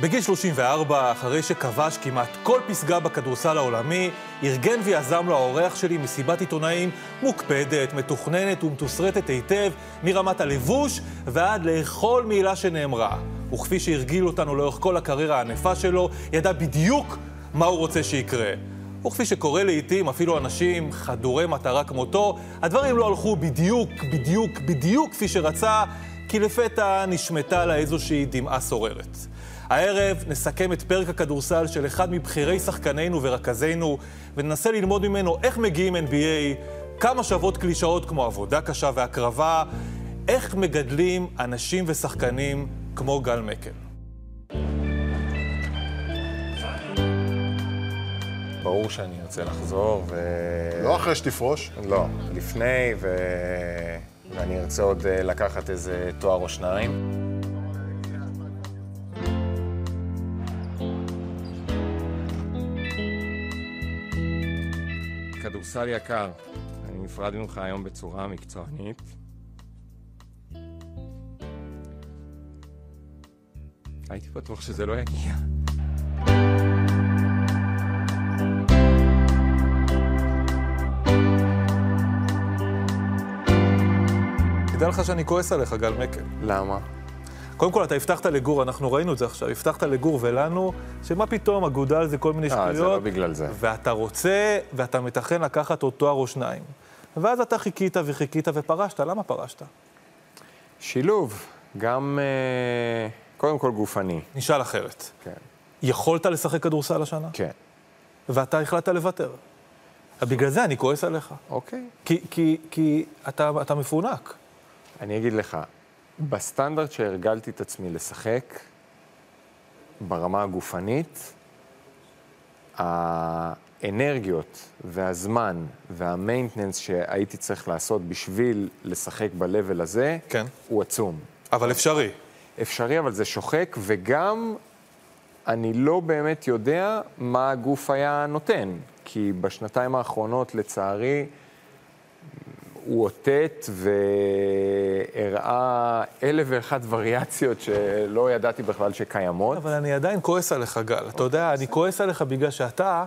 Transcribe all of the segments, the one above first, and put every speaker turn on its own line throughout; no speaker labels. בגיל 34, אחרי שכבש כמעט כל פסגה בכדורסל העולמי, ארגן ויזם לו האורח שלי מסיבת עיתונאים מוקפדת, מתוכננת ומתוסרטת היטב, מרמת הלבוש ועד לכל מילה שנאמרה. וכפי שהרגיל אותנו לאורך כל הקריירה הענפה שלו, ידע בדיוק מה הוא רוצה שיקרה. וכפי שקורה לעיתים, אפילו אנשים חדורי מטרה כמותו, הדברים לא הלכו בדיוק, בדיוק, בדיוק כפי שרצה, כי לפתע נשמטה לה איזושהי דמעה סוררת. הערב נסכם את פרק הכדורסל של אחד מבכירי שחקנינו ורכזינו, וננסה ללמוד ממנו איך מגיעים NBA, כמה שוות קלישאות כמו עבודה קשה והקרבה, איך מגדלים אנשים ושחקנים כמו גל מקל.
ברור שאני ארצה לחזור, ו...
לא אחרי שתפרוש.
לא, לפני, ו... ואני ארצה עוד אה, לקחת איזה תואר או שניים. כדורסל יקר, אני נפרד ממך היום בצורה מקצוענית. הייתי בטוח שזה לא יגיע.
תדע לך שאני כועס עליך, גל מקל.
למה? אה,
קודם כל, אתה הבטחת לגור, אנחנו ראינו את זה עכשיו, הבטחת לגור ולנו, שמה פתאום, אגודל זה כל מיני
אה, זה
שטויות.
לא בגלל זה.
ואתה רוצה, ואתה מתכן לקחת עוד תואר או שניים. ואז אתה חיכית וחיכית ופרשת, למה פרשת?
שילוב, גם אה, קודם כל גופני.
נשאל אחרת.
כן.
יכולת לשחק כדורסל השנה,
כן.
ואתה החלטת לוותר. בגלל זה אני כועס עליך.
אוקיי.
כי, כי, כי אתה, אתה מפונק.
אני אגיד לך, בסטנדרט שהרגלתי את עצמי לשחק, ברמה הגופנית, האנרגיות והזמן והמיינטננס שהייתי צריך לעשות בשביל לשחק ב-level הזה,
כן.
הוא עצום.
אבל אפשרי.
אפשרי, אבל זה שוחק, וגם אני לא באמת יודע מה הגוף היה נותן, כי בשנתיים האחרונות, לצערי, הוא אותת והראה אלף ואחת וריאציות שלא ידעתי בכלל שקיימות.
אבל אני עדיין כועס עליך, גל. אתה יודע, אני כועס עליך בגלל שאתה,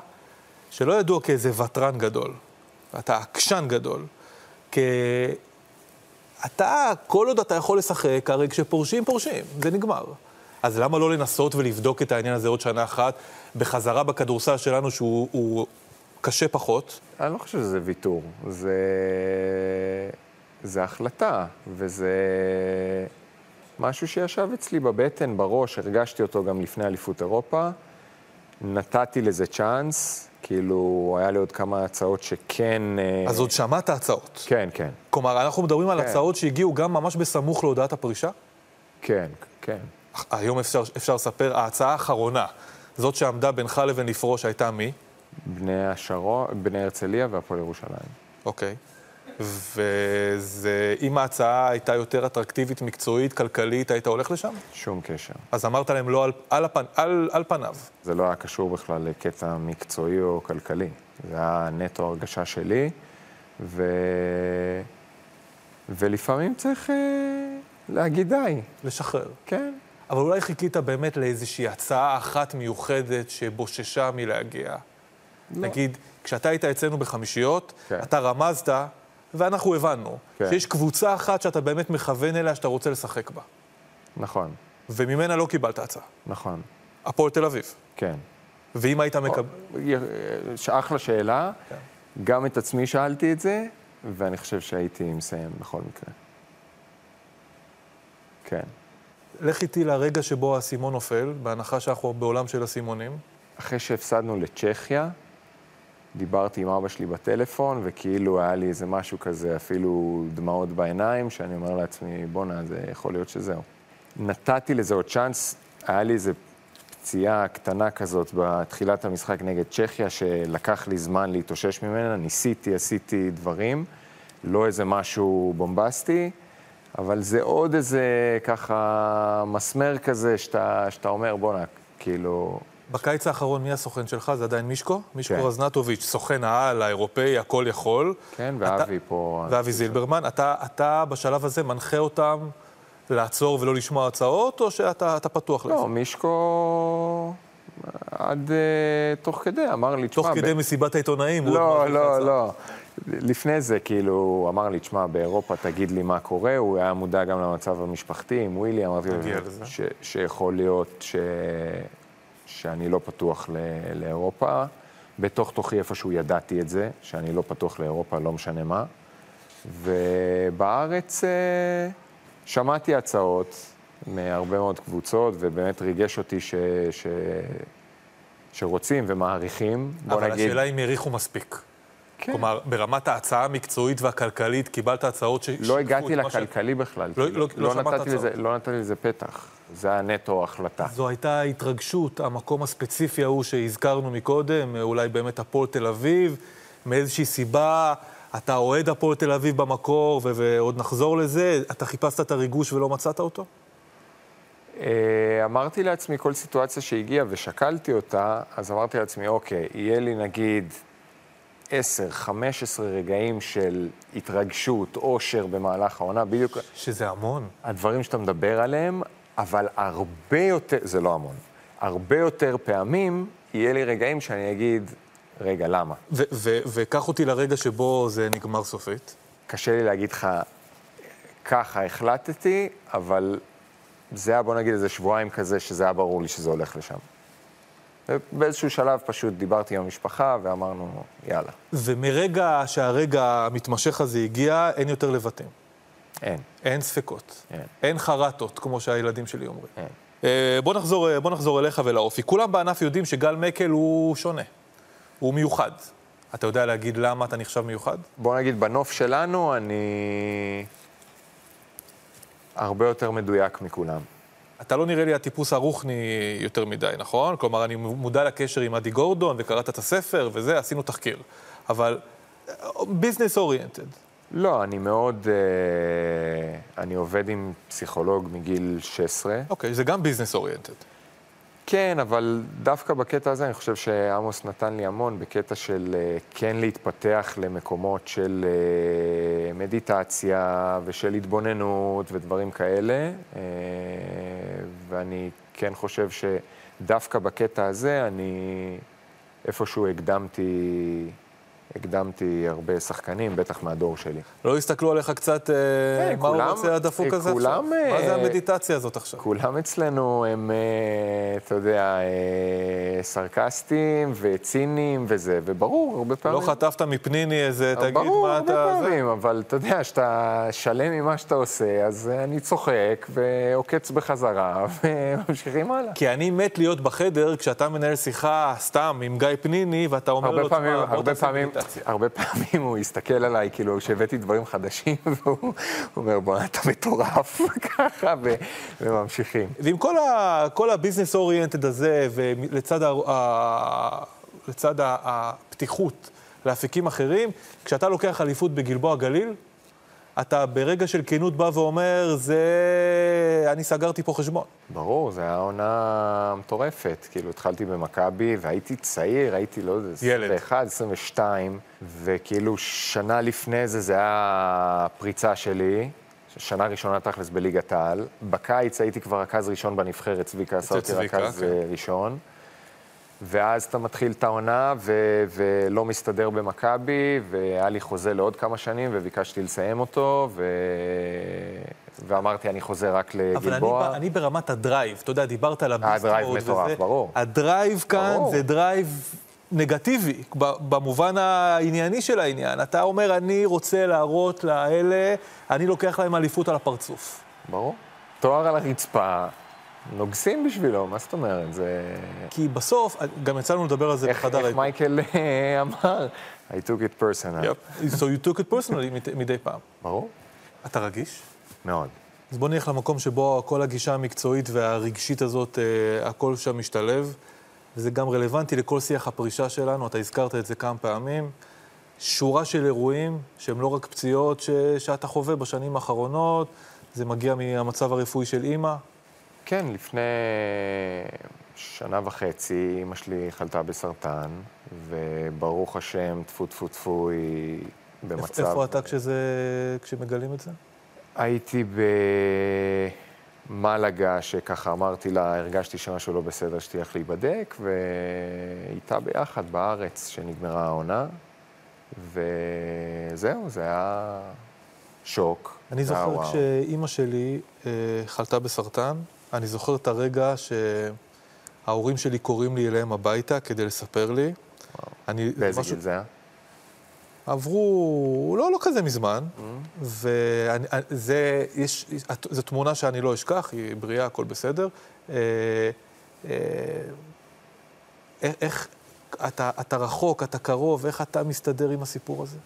שלא ידוע כאיזה ותרן גדול, אתה עקשן גדול, כ... אתה, כל עוד אתה יכול לשחק, הרי כשפורשים, פורשים, זה נגמר. אז למה לא לנסות ולבדוק את העניין הזה עוד שנה אחת, בחזרה בכדורסל שלנו, שהוא הוא קשה פחות?
אני לא חושב שזה ויתור, זה... זה החלטה, וזה משהו שישב אצלי בבטן, בראש, הרגשתי אותו גם לפני אליפות אירופה. נתתי לזה צ'אנס, כאילו, היה לי עוד כמה הצעות שכן... אה,
אז עוד שמעת הצעות.
כן, כן,
כלומר, אנחנו מדברים על
כן.
הצעות שהגיעו גם ממש בסמוך להודעת הפרישה?
כן, כן.
היום אפשר, אפשר לספר, ההצעה האחרונה, זאת שעמדה בינך לבין לפרוש, הייתה מי?
בני השרון, בני הרצליה והפועל ירושלים.
אוקיי. וזה, אם ההצעה הייתה יותר אטרקטיבית, מקצועית, כלכלית, היית הולך לשם?
שום קשר.
אז אמרת להם לא על, על, הפנ, על, על פניו.
זה לא היה קשור בכלל לקטע מקצועי או כלכלי. זה היה נטו הרגשה שלי, ו... ולפעמים צריך אה, להגיד די,
לשחרר.
כן.
אבל אולי חיכית באמת לאיזושהי הצעה אחת מיוחדת שבוששה מלהגיע. לא. נגיד, כשאתה היית אצלנו בחמישיות, כן.
כן.
אתה רמזת, ואנחנו הבנו, כן.
כן.
שיש קבוצה אחת שאתה באמת מכוון אליה, שאתה רוצה לשחק בה.
נכון,
וממנה לא קיבלת הצעה.
נכון,
הפועל תל אביב.
כן.
ואם היית מקבל...
ש- אחלה שאלה,
כן.
גם את עצמי שאלתי את זה, ואני חושב שהייתי מסיים בכל מקרה. כן.
לך איתי לרגע שבו האסימון נופל, בהנחה שאנחנו בעולם של אסימונים.
אחרי שהפסדנו לצ'כיה, דיברתי עם אבא שלי בטלפון, וכאילו היה לי איזה משהו כזה, אפילו דמעות בעיניים, שאני אומר לעצמי, בואנה, זה יכול להיות שזהו. נתתי לזה עוד צ'אנס, היה לי איזה פציעה קטנה כזאת בתחילת המשחק נגד צ'כיה, שלקח לי זמן להתאושש ממנה, ניסיתי, עשיתי דברים, לא איזה משהו בומבסטי. אבל זה עוד איזה ככה מסמר כזה שאתה, שאתה אומר, בואנה, כאילו,
בקיץ האחרון, מי הסוכן שלך? זה עדיין מישקו? מישקו
כן.
רזנטוביץ', סוכן העל האירופאי, הכל יכול.
כן,
אתה-
ואבי פה...
ואבי זילברמן, אתה, אתה בשלב הזה מנחה אותם לעצור ולא לשמוע הצעות, או שאתה אתה פתוח לזה?
לא, מישקו עד אה, תוך כדי אמר לי,
תוך
תשמע... ב-
כדי מסיבת העיתונאים? הוא עוד
לא,
מעט נכנס
לא, לא. לפני זה, כאילו, הוא אמר לי, תשמע, באירופה תגיד לי מה קורה, הוא היה מודע גם למצב המשפחתי עם ווילי, אמרתי לו
נגיע לזה.
ש- שיכול להיות ש... שאני לא פתוח ל- לאירופה. בתוך תוכי איפשהו ידעתי את זה, שאני לא פתוח לאירופה, לא משנה מה. ובארץ אה, שמעתי הצעות מהרבה מאוד קבוצות, ובאמת ריגש אותי ש... ש... שרוצים ומעריכים, בוא
אבל
נגיד...
השאלה אם העריכו מספיק.
כן.
כלומר, ברמת ההצעה המקצועית והכלכלית, קיבלת הצעות ש...
לא
ששיקפו את
הגעתי
מה ש-
לכלכלי בכלל.
לא-
כאילו.
לא- לא שמעת
נתתי לזה-
הצעות.
לא נתתי לזה פתח. זה היה נטו החלטה.
זו הייתה התרגשות, המקום הספציפי ההוא שהזכרנו מקודם, אולי באמת הפועל תל אביב, מאיזושהי סיבה, אתה אוהד הפועל תל אביב במקור, ו- ועוד נחזור לזה, אתה חיפשת את הריגוש ולא מצאת אותו?
אה, אמרתי לעצמי, כל סיטואציה שהגיעה ושקלתי אותה, אז אמרתי לעצמי, אוקיי, יהיה לי נגיד 10-15 רגעים של התרגשות, אושר במהלך העונה, בדיוק
שזה המון.
הדברים שאתה מדבר עליהם, אבל הרבה יותר, זה לא המון, הרבה יותר פעמים יהיה לי רגעים שאני אגיד, רגע, למה?
ו- ו- וקח אותי לרגע שבו זה נגמר סופית.
קשה לי להגיד לך, ככה החלטתי, אבל זה היה, בוא נגיד, איזה שבועיים כזה, שזה היה ברור לי שזה הולך לשם. באיזשהו שלב פשוט דיברתי עם המשפחה ואמרנו, יאללה,
ומרגע שהרגע המתמשך הזה הגיע, אין יותר לבטים.
אין.
אין ספקות.
אין.
אין חרטות, כמו שהילדים שלי אומרים.
אין.
אה, בוא נחזור, אה, בוא נחזור אליך ולאופי. כולם בענף יודעים שגל מקל הוא שונה. הוא מיוחד. אתה יודע להגיד למה אתה נחשב מיוחד?
בוא נגיד, בנוף שלנו אני הרבה יותר מדויק מכולם.
אתה לא נראה לי הטיפוס הרוחני יותר מדי, נכון? כלומר, אני מודע לקשר עם אדי גורדון, וקראת את הספר, וזה, עשינו תחקיר. אבל אה, ביזנס אוריינטד.
לא, אני מאוד... אה, אני עובד עם פסיכולוג מגיל 16.
אוקיי, זה גם ביזנס אוריינטד.
כן, אבל דווקא בקטע הזה אני חושב שעמוס נתן לי המון בקטע של אה, כן להתפתח למקומות של אה, מדיטציה ושל התבוננות ודברים כאלה, אה, ואני כן חושב שדווקא בקטע הזה אני איפשהו הקדמתי, הקדמתי הרבה שחקנים, בטח מהדור שלי.
לא הסתכלו עליך קצת, אה,
אה,
מה הוא
כולם-
רוצה הדפוק
אה,
הזה עכשיו?
כולם,
מה זה
אה,
המדיטציה הזאת עכשיו?
כולם אצלנו הם, אה, אתה יודע, אה, סרקסטיים וציניים וזה, וברור, הרבה פעמים...
לא חטפת מפניני איזה,
אבל
תגיד
אה, ברור,
מה
הרבה
אתה... זה?
פעמים, אבל אתה יודע, שאתה שלם עם מה שאתה עושה, אז אה, אני צוחק ועוקץ בחזרה, וממשיכים הלאה.
כי אני מת להיות בחדר כשאתה מנהל שיחה סתם עם גיא פניני, ואתה אומר
הרבה
לו,
פעמים,
לא, תשמע, בוא
הרבה
תעשה
פעמים,
מדיטציה.
הרבה פעמים הוא הסתכל עליי, כאילו, שהבאתי דברים חדשים, והוא אומר, בוא'נה, אתה מטורף, ככה, ו- וממשיכים.
ועם כל, ה, כל הביזנס אוריינטד הזה, ולצד ה, ה, לצד ה, הפתיחות לאפיקים אחרים, כשאתה לוקח אליפות בגלבוע גליל, אתה ברגע של כנות בא ואומר, זה... אני סגרתי פה חשבון.
ברור, זו הייתה עונה מטורפת. כאילו, התחלתי במכבי, והייתי צעיר, הייתי, לא יודע,
ילד.
21, 22, וכאילו, שנה לפני זה, זה היה הפריצה שלי. שנה ראשונה תכלס בליגת העל. בקיץ הייתי כבר רכז ראשון בנבחרת, צביקה עשה אותי
צביקה,
רכז
כן.
אה, ראשון. ואז אתה מתחיל את העונה ו- ולא מסתדר במכבי, והיה לי חוזה לעוד כמה שנים, וביקשתי לסיים אותו, ו... ואמרתי, אני חוזר רק
אבל אני,
לגלבוע.
ב- אני ברמת הדרייב, אתה יודע, דיברת על הביסט
אה, הדרייב
מוד
מטורף,
וזה.
ברור.
הדרייב כאן
ברור.
זה דרייב נגטיבי, ב- במובן הענייני של העניין. אתה אומר, אני רוצה להראות לאלה, אני לוקח להם אליפות על הפרצוף.
ברור. תואר על הרצפה, נוגסים בשבילו, מה זאת אומרת? זה...
כי בסוף, גם יצא לנו לדבר על זה
איך,
בחדר
איך
האיפור.
מייקל אה, אמר? I took it personal.
So you took it personally מדי- מדי פעם.
ברור?
אתה רגיש?
מאוד.
אז בוא נלך למקום שבו כל הגישה המקצועית והרגשית הזאת, אה, הכל שם משתלב, וזה גם רלוונטי לכל שיח הפרישה שלנו, אתה הזכרת את זה כמה פעמים. שורה של אירועים שהם לא רק פציעות ש... שאתה חווה בשנים האחרונות, זה מגיע מהמצב הרפואי של אימא.
כן, לפני שנה וחצי אמא שלי חלתה בסרטן, וברוך השם, טפו טפו טפו, היא
איפ-
במצב...
איפה אתה כשזה... כשמגלים את זה?
הייתי במלגה, שככה אמרתי לה, הרגשתי שמשהו לא בסדר, שתלך להיבדק, ואיתה ביחד בארץ, שנגמרה העונה, וזהו, זה היה שוק.
אני
זה היה
זוכר
אה, וואו.
כשאימא שלי אה, חלתה בסרטן, אני זוכר את הרגע שההורים שלי קוראים לי אליהם הביתה כדי לספר לי. אני, זה
באיזה
משהו-
גיל זה היה?
עברו לא, לא כזה מזמן,
Mm.
וזה, יש, את- זו תמונה שאני לא אשכח, היא בריאה, הכל בסדר. אה, אה, איך, איך אתה, אתה רחוק, אתה קרוב, איך אתה מסתדר עם הסיפור הזה?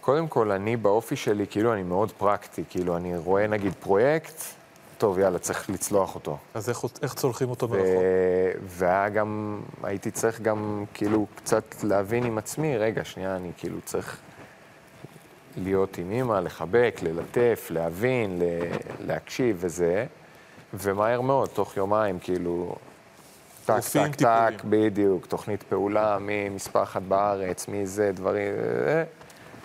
קודם כל, אני באופי שלי, כאילו, אני מאוד פרקטי. כאילו, אני רואה, נגיד, פרויקט, טוב, יאללה, צריך לצלוח אותו.
אז איך, איך צולחים אותו מרחוק?
ו- אה,
נכון.
והיה גם, הייתי צריך גם, כאילו, קצת להבין עם עצמי, רגע, שנייה, אני כאילו צריך להיות עם אימא, לחבק, ללטף, להבין, ל- להקשיב וזה, ומהר מאוד, תוך יומיים, כאילו, טק,
רופאים,
טק,
טיפולים.
טק, בדיוק, תוכנית פעולה, מי מספר אחת בארץ, מי זה, דברים, אה,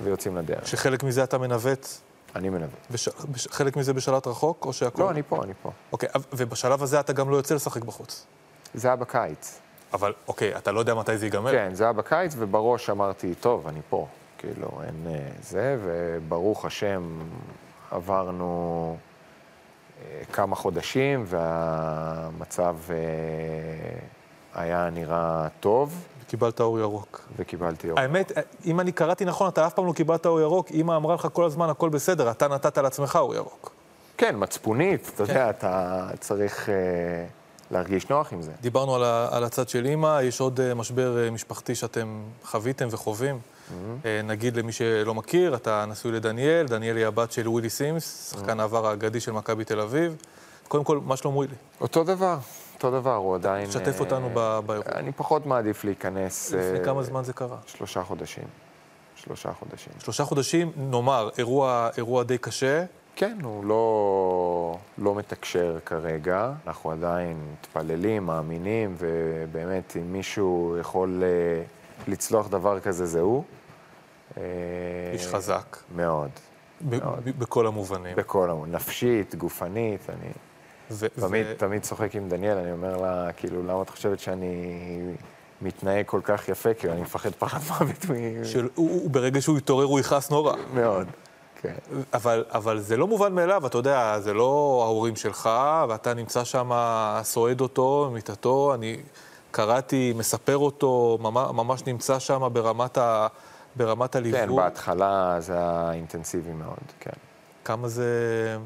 ויוצאים לדרך.
שחלק מזה אתה מנווט,
אני מנווט.
בש, בש, חלק מזה בשלט רחוק, או שהכול...
לא, אני פה, אני פה.
אוקיי, אב- ובשלב הזה אתה גם לא יוצא לשחק בחוץ.
זה היה בקיץ.
אבל, אוקיי, אתה לא יודע מתי זה ייגמר.
כן, זה היה בקיץ, ובראש אמרתי, טוב, אני פה. כאילו, אין אה, זה, וברוך השם, עברנו אה, כמה חודשים, והמצב אה, היה נראה טוב,
קיבלת אור ירוק.
וקיבלתי אור.
האמת, אם אני קראתי נכון, אתה אף פעם לא קיבלת אור ירוק, אמא אמרה לך כל הזמן, הכל בסדר, אתה נתת לעצמך אור ירוק.
כן, מצפונית, אתה יודע, אתה צריך אה, להרגיש נוח עם זה.
דיברנו על, ה- על הצד של אימא, יש עוד אה, משבר אה, משפחתי שאתם חוויתם וחווים.
Mm-hmm.
אה, נגיד למי שלא מכיר, אתה נשוי לדניאל, דניאל היא הבת של ווילי סימס,
Mm-hmm.
שחקן העבר האגדי של מכבי תל אביב. קודם כל, מה שלום ווילי?
אותו דבר, אותו דבר, הוא עדיין...
שתף
אה,
אותנו ב- באירוע.
אני פחות מעדיף להיכנס...
לפני
אה,
כמה זמן זה קרה?
שלושה חודשים. שלושה חודשים.
שלושה חודשים, נאמר, אירוע, אירוע די קשה.
כן, הוא לא, לא מתקשר כרגע. אנחנו עדיין מתפללים, מאמינים, ובאמת, אם מישהו יכול אה, לצלוח דבר כזה, זה הוא. אה,
איש חזק,
מאוד.
ב-
מאוד.
ב- בכל המובנים.
בכל המון. נפשית, גופנית, אני
ו-
תמיד,
ו-
תמיד צוחק עם דניאל, אני אומר לה, כאילו, למה את חושבת שאני מתנהג כל כך יפה? כאילו, אני מפחד פחד מוות מ...
של- הוא- הוא- ברגע שהוא יתעורר הוא יכעס נורא.
מאוד. כן.
אבל, אבל זה לא מובן מאליו, אתה יודע, זה לא ההורים שלך, ואתה נמצא שם, סועד אותו, מיטתו, אני קראתי, מספר אותו, ממש, ממש נמצא שם ברמת, ה, ברמת
כן,
הליווי.
בהתחלה זה היה אינטנסיבי מאוד, כן.
כמה זה,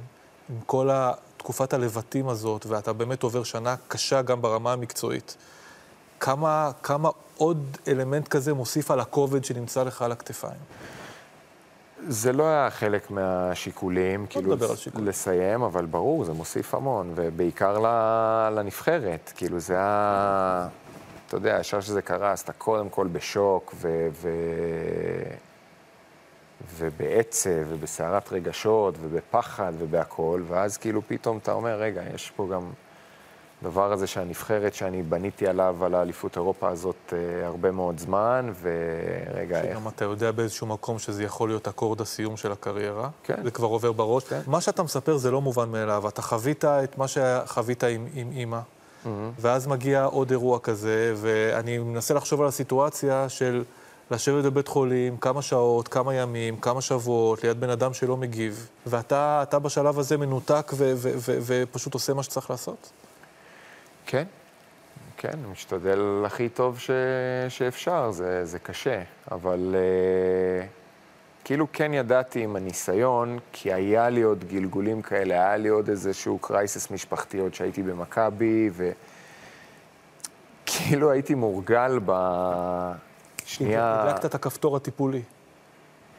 עם כל ה- תקופת הלבטים הזאת, ואתה באמת עובר שנה קשה גם ברמה המקצועית, כמה, כמה עוד אלמנט כזה מוסיף על הכובד שנמצא לך על הכתפיים?
זה לא היה חלק מהשיקולים, כאילו,
נדבר על
לס-
שיקולים.
לסיים, אבל ברור, זה מוסיף המון, ובעיקר ל- לנבחרת. כאילו, זה היה... אתה יודע, ישר שזה קרה, אז אתה קודם כל בשוק, ו... ו... ובעצב, ובסערת רגשות, ובפחד, ובהכול, ואז כאילו פתאום אתה אומר, רגע, יש פה גם דבר הזה שהנבחרת שאני בניתי עליו, על האליפות אירופה הזאת, אה, הרבה מאוד זמן, ורגע, איך...
גם אתה יודע באיזשהו מקום שזה יכול להיות אקורד הסיום של הקריירה.
כן.
זה כבר עובר בראש.
כן.
מה שאתה מספר זה לא מובן מאליו. אתה חווית את מה שחווית עם, עם אימא, ואז מגיע עוד אירוע כזה, ואני מנסה לחשוב על הסיטואציה של לשבת בבית חולים כמה שעות, כמה ימים, כמה שבועות, ליד בן אדם שלא מגיב, ואתה אתה בשלב הזה מנותק ו- ו- ו- ופשוט עושה מה שצריך לעשות?
כן, כן, אני משתדל הכי טוב ש... שאפשר, זה, זה קשה, אבל אה, כאילו כן ידעתי עם הניסיון, כי היה לי עוד גלגולים כאלה, היה לי עוד איזשהו קרייסס משפחתי עוד שהייתי במכבי, וכאילו הייתי מורגל בשנייה...
הדלקת את הכפתור הטיפולי.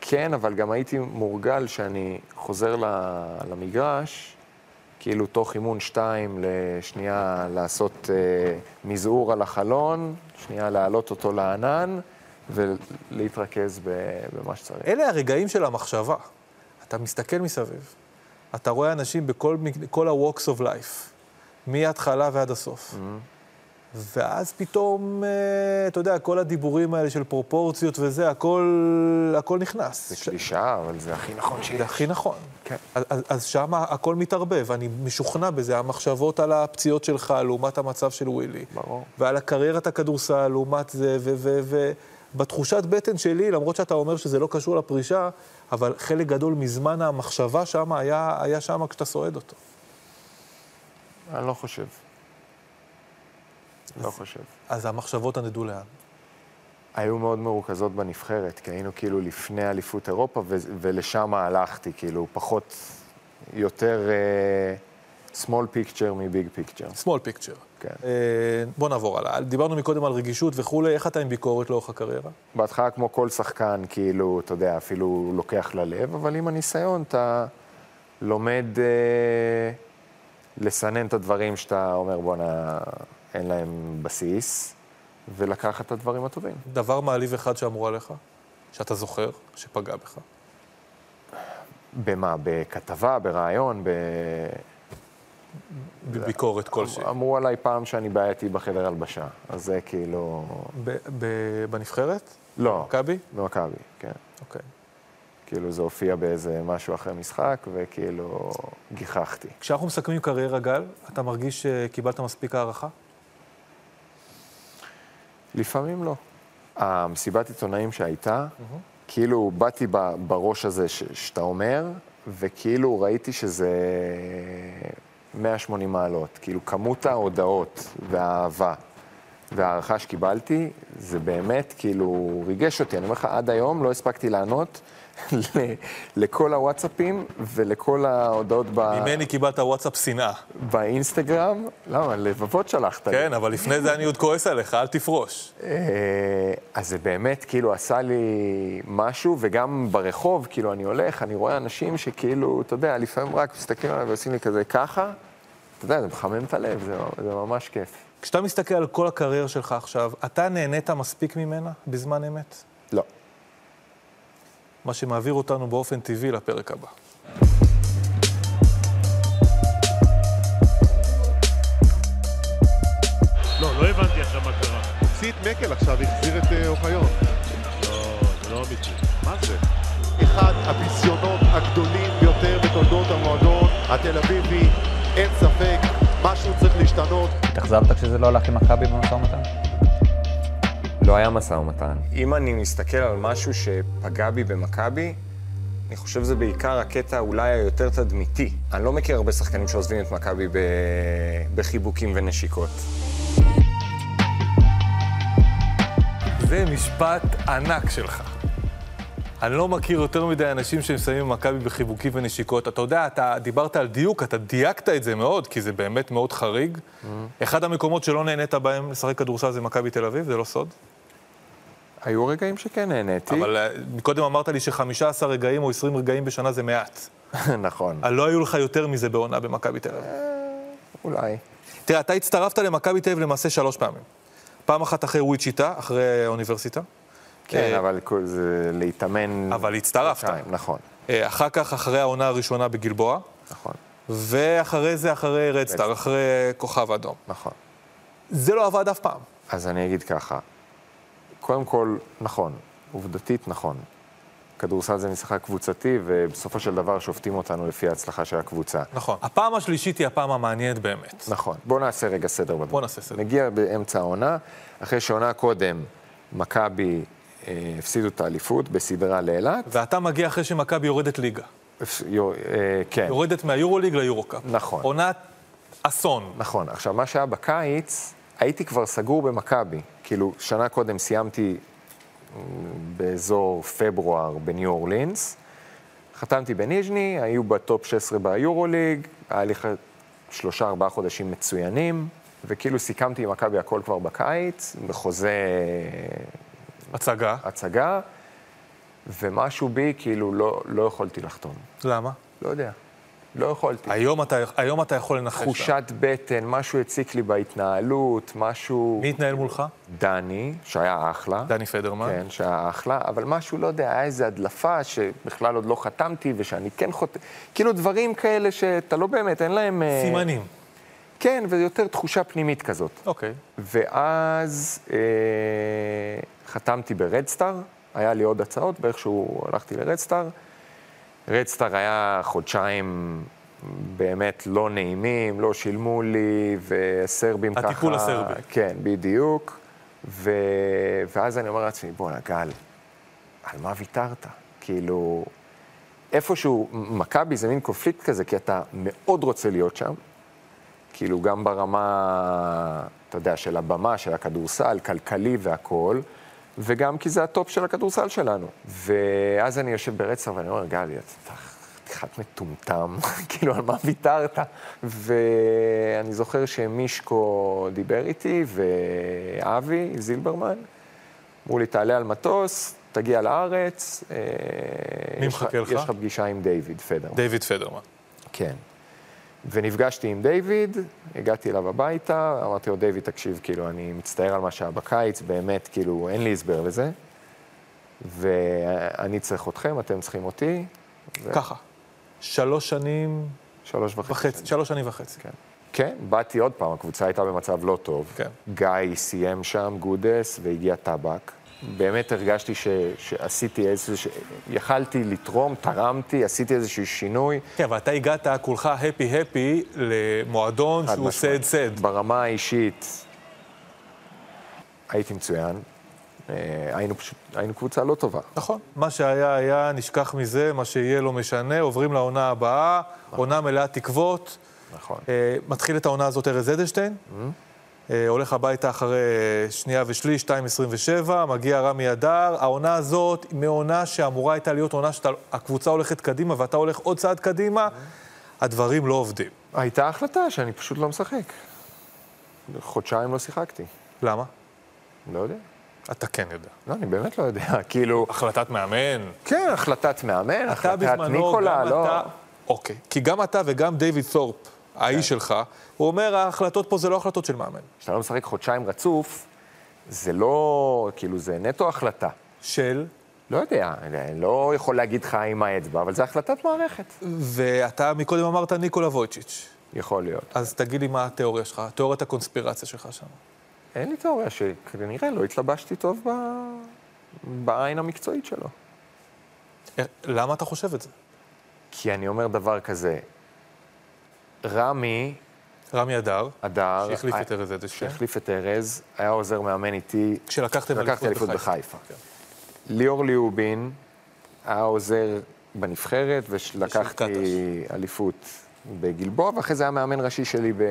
כן, אבל גם הייתי מורגל שאני חוזר ל- למגרש, כאילו תוך אימון שתיים לשנייה לעשות אה, מזעור על החלון, שנייה להעלות אותו לענן ולהתרכז ב- במה שצריך.
אלה הרגעים של המחשבה. אתה מסתכל מסביב, אתה רואה אנשים בכל מג- כל ה-Walks of Life, מההתחלה ועד הסוף.
Mm-hmm.
ואז פתאום, אה, אתה יודע, כל הדיבורים האלה של פרופורציות וזה, הכל, הכל נכנס.
זה
ש-
קלישאה, אבל זה הכי נכון שיש.
זה הכי נכון.
כן.
אז, אז- אז שם הכל מתערבב, אני משוכנע בזה, המחשבות על הפציעות שלך לעומת המצב של ווילי.
ברור.
ועל הקריירת הכדורסל לעומת זה, ו... ו, ו בתחושת בטן שלי, למרות שאתה אומר שזה לא קשור לפרישה, אבל חלק גדול מזמן המחשבה שם היה, היה שם כשאתה סועד אותו.
אני לא חושב. לא חושב.
אז המחשבות הנדו לאן.
היו מאוד מרוכזות בנבחרת, כי היינו כאילו לפני אליפות אירופה, ו- ולשם הלכתי, כאילו, פחות, יותר uh, small picture מביג picture.
small picture.
כן.
אה, בוא נעבור הלאה. דיברנו מקודם על רגישות וכולי, איך אתה עם ביקורת לאורך הקריירה?
בהתחלה, כמו כל שחקן, כאילו, אתה יודע, אפילו לוקח ללב, אבל עם הניסיון אתה לומד אה, לסנן את הדברים שאתה אומר, בואנה, אין להם בסיס, ולקחת את הדברים הטובים.
דבר מעליב אחד שאמרו עליך, שאתה זוכר, שפגע בך.
במה? בכתבה, ברעיון, ב...
בביקורת כלשהי.
אמרו עליי פעם שאני בעייתי בחדר הלבשה, אז זה כאילו...
אמ, ב- ב- בנבחרת?
לא,
מכבי?
במכבי, כן.
אוקיי.
כאילו זה הופיע באיזה משהו אחרי משחק, וכאילו גיחכתי.
כשאנחנו מסכמים קריירה, גל, אתה מרגיש שקיבלת מספיק הערכה?
לפעמים לא. המסיבת עיתונאים שהייתה, כאילו באתי ב- בראש הזה ש- שאתה אומר, וכאילו ראיתי שזה 180 מעלות. כאילו כמות ההודעות והאהבה וההערכה שקיבלתי, זה באמת כאילו ריגש אותי. אני אומר לך, עד היום לא הספקתי לענות ל- לכל הוואטסאפים ולכל ההודעות ב-
ממני קיבלת וואטסאפ שנאה.
באינסטגרם. למה? לבבות שלחת לי.
כן, אבל לפני זה אני עוד כועס עליך, אל תפרוש.
אה, אז זה באמת כאילו עשה לי משהו, וגם ברחוב, כאילו, אני הולך, אני רואה אנשים שכאילו, אתה יודע, לפעמים רק מסתכלים עליי ועושים לי כזה ככה, אתה יודע, זה מחמם את הלב, זה, זה ממש כיף.
כשאתה מסתכל על כל הקריירה שלך עכשיו, אתה נהנית מספיק ממנה בזמן אמת?
לא.
מה שמעביר אותנו באופן טבעי לפרק הבא.
לא, לא הבנתי עכשיו מה קרה.
הוציא את מקל עכשיו, החזיר את אה, אוחיון.
לא, זה לא אמיתי.
מה זה? אחד הביזיונות הגדולים ביותר בתולדות המועדון התל אביבי, אין ספק, משהו צריך להשתנות.
התאכזבת כשזה לא הלך עם מכבי במשא ומתן?
לא היה משא ומתן. אם אני מסתכל על משהו שפגע בי במכבי, אני חושב שזה בעיקר הקטע אולי היותר תדמיתי. אני לא מכיר הרבה שחקנים שעוזבים את מכבי ב... בחיבוקים ונשיקות.
זה משפט ענק שלך. אני לא מכיר יותר מדי אנשים שמסיימים עם מכבי בחיבוקים ונשיקות. אתה יודע, אתה דיברת על דיוק, אתה דייקת את זה מאוד, כי זה באמת מאוד חריג. אחד המקומות שלא נהנית בהם לשחק כדורסל זה מכבי תל אביב, זה לא סוד.
היו רגעים שכן נהניתי.
אבל אה, קודם אמרת לי ש-15 רגעים או 20 רגעים בשנה זה מעט.
נכון.
אה, לא היו לך יותר מזה בעונה במכבי תל אביב.
אולי.
תראה, אתה הצטרפת למכבי תל אביב למעשה שלוש פעמים. פעם אחת אחרי וויצ'יטה, אחרי האוניברסיטה.
כן, אבל כל- זה להתאמן...
אה, אבל הצטרפת.
חודשיים, נכון,
אה, אחר כך, אחרי העונה הראשונה בגלבוע,
נכון,
ואחרי זה, אחרי רדסטאר, אחרי כוכב אדום.
נכון.
זה לא עבד אף פעם.
אז אני אגיד ככה, קודם כל, נכון, עובדתית נכון. כדורסל זה משחק קבוצתי, ובסופו של דבר שופטים אותנו לפי ההצלחה של הקבוצה.
נכון. הפעם השלישית היא הפעם המעניינת באמת.
נכון. בואו נעשה רגע סדר בדברים.
בוא נעשה סדר.
נגיע באמצע העונה, אחרי שעונה קודם, מכבי אה, הפסידו את האליפות בסדרה לאילת.
ואתה מגיע אחרי שמכבי יורדת ליגה.
הפס- יו- אה, כן.
יורדת מהיורוליג ליורוקאפ.
נכון.
עונת אסון.
נכון. עכשיו, מה שהיה בקיץ, הייתי כבר סגור במכבי. כאילו, שנה קודם סיימתי אה, באזור פברואר בניו אורלינס, חתמתי בניז'ני, היו בטופ 16 ביורוליג, היה לי ח- שלושה, ארבעה חודשים מצוינים, וכאילו סיכמתי עם מכבי הכל כבר בקיץ, בחוזה אה,
הצגה.
הצגה, ומשהו בי, כאילו, לא, לא יכולתי לחתום.
למה?
לא יודע. לא יכולתי.
היום אתה, היום אתה יכול לנחש.
תחושת בטן, משהו הציק לי בהתנהלות, משהו...
מי התנהל מולך?
דני, שהיה אחלה.
דני פדרמן.
כן, שהיה אחלה, אבל משהו, לא יודע, היה איזו הדלפה שבכלל עוד לא חתמתי ושאני כן חותם... כאילו דברים כאלה שאתה לא באמת, אין להם... אה,
סימנים.
כן, ויותר תחושה פנימית כזאת.
אוקיי.
ואז אה, חתמתי ברדסטאר, היה לי עוד הצעות, ואיכשהו הלכתי לרדסטאר. רדסטאר היה חודשיים באמת לא נעימים, לא שילמו לי, והסרבים ככה...
הטיפול הסרבי.
כן, בדיוק. ו... ואז אני אומר לעצמי, בואנה, גל, על מה ויתרת? כאילו, איפשהו, מכבי זה מין קונפליקט כזה, כי אתה מאוד רוצה להיות שם, כאילו גם ברמה, אתה יודע, של הבמה, של הכדורסל, כלכלי והכול, וגם כי זה הטופ של הכדורסל שלנו. ואז אני יושב ברצף ואני אומר, גלי, אתה חתיכת מטומטם, כאילו, על מה ויתרת? ואני זוכר שמישקו דיבר איתי, ואבי זילברמן, אמרו לי, תעלה על מטוס, תגיע לארץ. אה,
מי
יש
מחכה לך?
יש לך פגישה עם דיוויד פדרמן.
דיוויד פדרמן.
כן. ונפגשתי עם דיוויד, הגעתי אליו הביתה, אמרתי לו, דיוויד, תקשיב, כאילו, אני מצטער על מה שהיה בקיץ, באמת, כאילו, אין לי הסבר לזה. ואני צריך אתכם, אתם צריכים אותי,
ככה. שלוש שנים
שלוש וחצי.
וחצי, שלוש שנים וחצי.
כן. כן, באתי עוד פעם, הקבוצה הייתה במצב לא טוב.
כן.
גיא סיים שם, גודס, והגיע טבק. באמת הרגשתי ש, שעשיתי איזה... ש... יכלתי לתרום, תרמתי, עשיתי איזשהו שינוי.
כן, אבל אתה הגעת, כולך הפי-הפי, למועדון
חד
שהוא
משמעית.
סד-סד.
ברמה האישית, הייתי מצוין. אה, היינו פשוט, היינו קבוצה לא טובה.
נכון. מה שהיה היה, נשכח מזה, מה שיהיה לא משנה, עוברים לעונה הבאה, עונה מלאה תקוות.
נכון.
אה, מתחיל את העונה הזאת ארז אדלשטיין, אה, הולך הביתה אחרי אה, שנייה ושליש, 2.27, מגיע רמי אדר. העונה הזאת היא מעונה שאמורה הייתה להיות עונה שהקבוצה הולכת קדימה ואתה הולך עוד צעד קדימה, הדברים לא עובדים.
הייתה החלטה שאני פשוט לא משחק. חודשיים לא שיחקתי.
למה?
לא יודע.
אתה כן יודע.
לא, אני באמת לא יודע. כאילו,
החלטת מאמן.
כן, החלטת מאמן,
אתה
החלטת
בזמנו,
ניקולה,
גם
לא...
אתה... אוקיי. כי גם אתה וגם דיוויד תורפ, האיש
כן.
שלך, הוא אומר, ההחלטות פה זה לא החלטות של מאמן.
כשאתה לא משחק חודשיים רצוף, זה לא... כאילו, זה נטו החלטה.
של...
לא יודע, אני לא יכול להגיד לך עם האצבע, אבל זו החלטת מערכת.
ואתה מקודם אמרת ניקולה וויצ'יץ'.
יכול להיות.
אז תגיד לי מה התיאוריה שלך, תיאוריית הקונספירציה שלך שם.
אין לי תיאוריה שכנראה לא התלבשתי טוב ב... בעין המקצועית שלו.
אה, למה אתה חושב את זה?
כי אני אומר דבר כזה, רמי
רמי אדר,
אדר...
שהחליף
ה-
את ארז אדלשטיין,
אה, שהחליף את ארז, היה עוזר מאמן איתי,
כשלקחתם
לקחתי אליפות בחיפה.
כן.
ליאור ליאובין היה עוזר בנבחרת, ולקחתי
קטש.
אליפות בגלבוע, ואחרי זה היה מאמן ראשי שלי ב-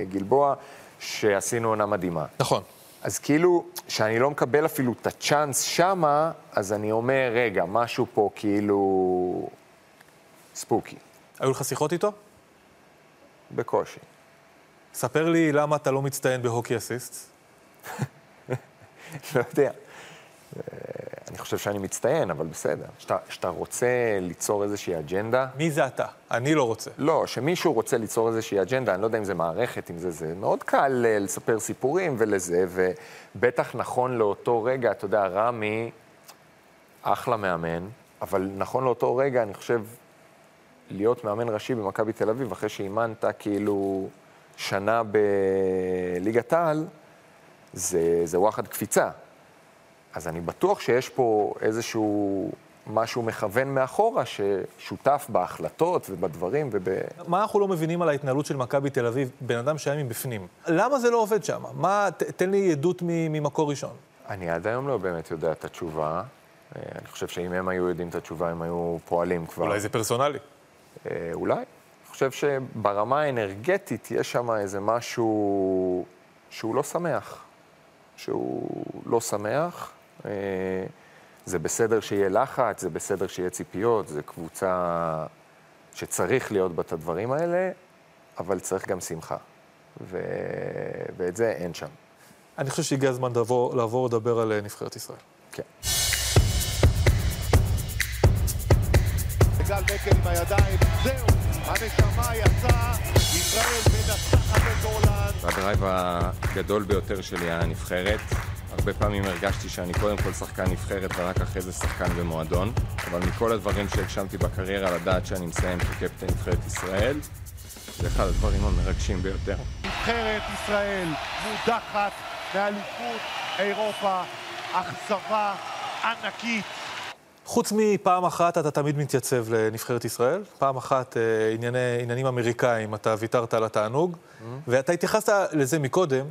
בגלבוע, שעשינו עונה מדהימה.
נכון.
אז כאילו, שאני לא מקבל אפילו את הצ'אנס שמה, אז אני אומר, רגע, משהו פה כאילו... ספוקי,
היו לך שיחות איתו?
בקושי.
ספר לי למה אתה לא מצטיין בהוקי אסיסט.
לא יודע. אה, אני חושב שאני מצטיין, אבל בסדר. שאתה- שאתה רוצה ליצור איזושהי אג'נדה,
מי זה אתה? אני לא רוצה.
לא, שמישהו רוצה ליצור איזושהי אג'נדה, אני לא יודע אם זה מערכת, אם זה זה. מאוד קל אה, לספר סיפורים ולזה, ובטח נכון לאותו רגע, אתה יודע, רמי, אחלה מאמן, אבל נכון לאותו רגע, אני חושב, להיות מאמן ראשי במכבי תל אביב, אחרי שאימנת כאילו שנה בליגת העל, זה, זה וואחד קפיצה. אז אני בטוח שיש פה איזשהו משהו מכוון מאחורה, ששותף בהחלטות ובדברים וב...
מה אנחנו לא מבינים על ההתנהלות של מכבי תל אביב, בן אדם שהיה מבפנים? למה זה לא עובד שם? מה, ת, תן לי עדות מ- ממקור ראשון.
אני עד היום לא באמת יודע את התשובה. אה, אני חושב שאם הם היו יודעים את התשובה, הם היו פועלים כבר.
אולי זה פרסונלי.
אה, אולי. אני חושב שברמה האנרגטית יש שם איזה משהו שהוא לא שמח. שהוא לא שמח. אה, זה בסדר שיהיה לחץ, זה בסדר שיהיה ציפיות, זו קבוצה שצריך להיות בה את הדברים האלה, אבל צריך גם שמחה. ו... ואת זה אין שם.
אני חושב שהגיע הזמן לעבור, לעבור לדבר על אה, נבחרת ישראל.
כן.
גל בקר עם הידיים, זהו, הנשמה יצאה, ישראל מנצחת את הולנד.
הדרייב הגדול ביותר שלי היה הנבחרת. הרבה פעמים הרגשתי שאני קודם כל שחקן נבחרת ורק אחרי זה שחקן במועדון. אבל מכל הדברים שהגשמתי בקריירה, לדעת שאני מסיים כקפטן נבחרת ישראל, זה אחד הדברים המרגשים ביותר.
נבחרת ישראל מודחת מאליפות אירופה, אכזבה ענקית.
חוץ מפעם אחת אתה תמיד מתייצב לנבחרת ישראל, פעם אחת אה, ענייני, עניינים אמריקאים, אתה ויתרת על התענוג, ואתה התייחסת לזה מקודם.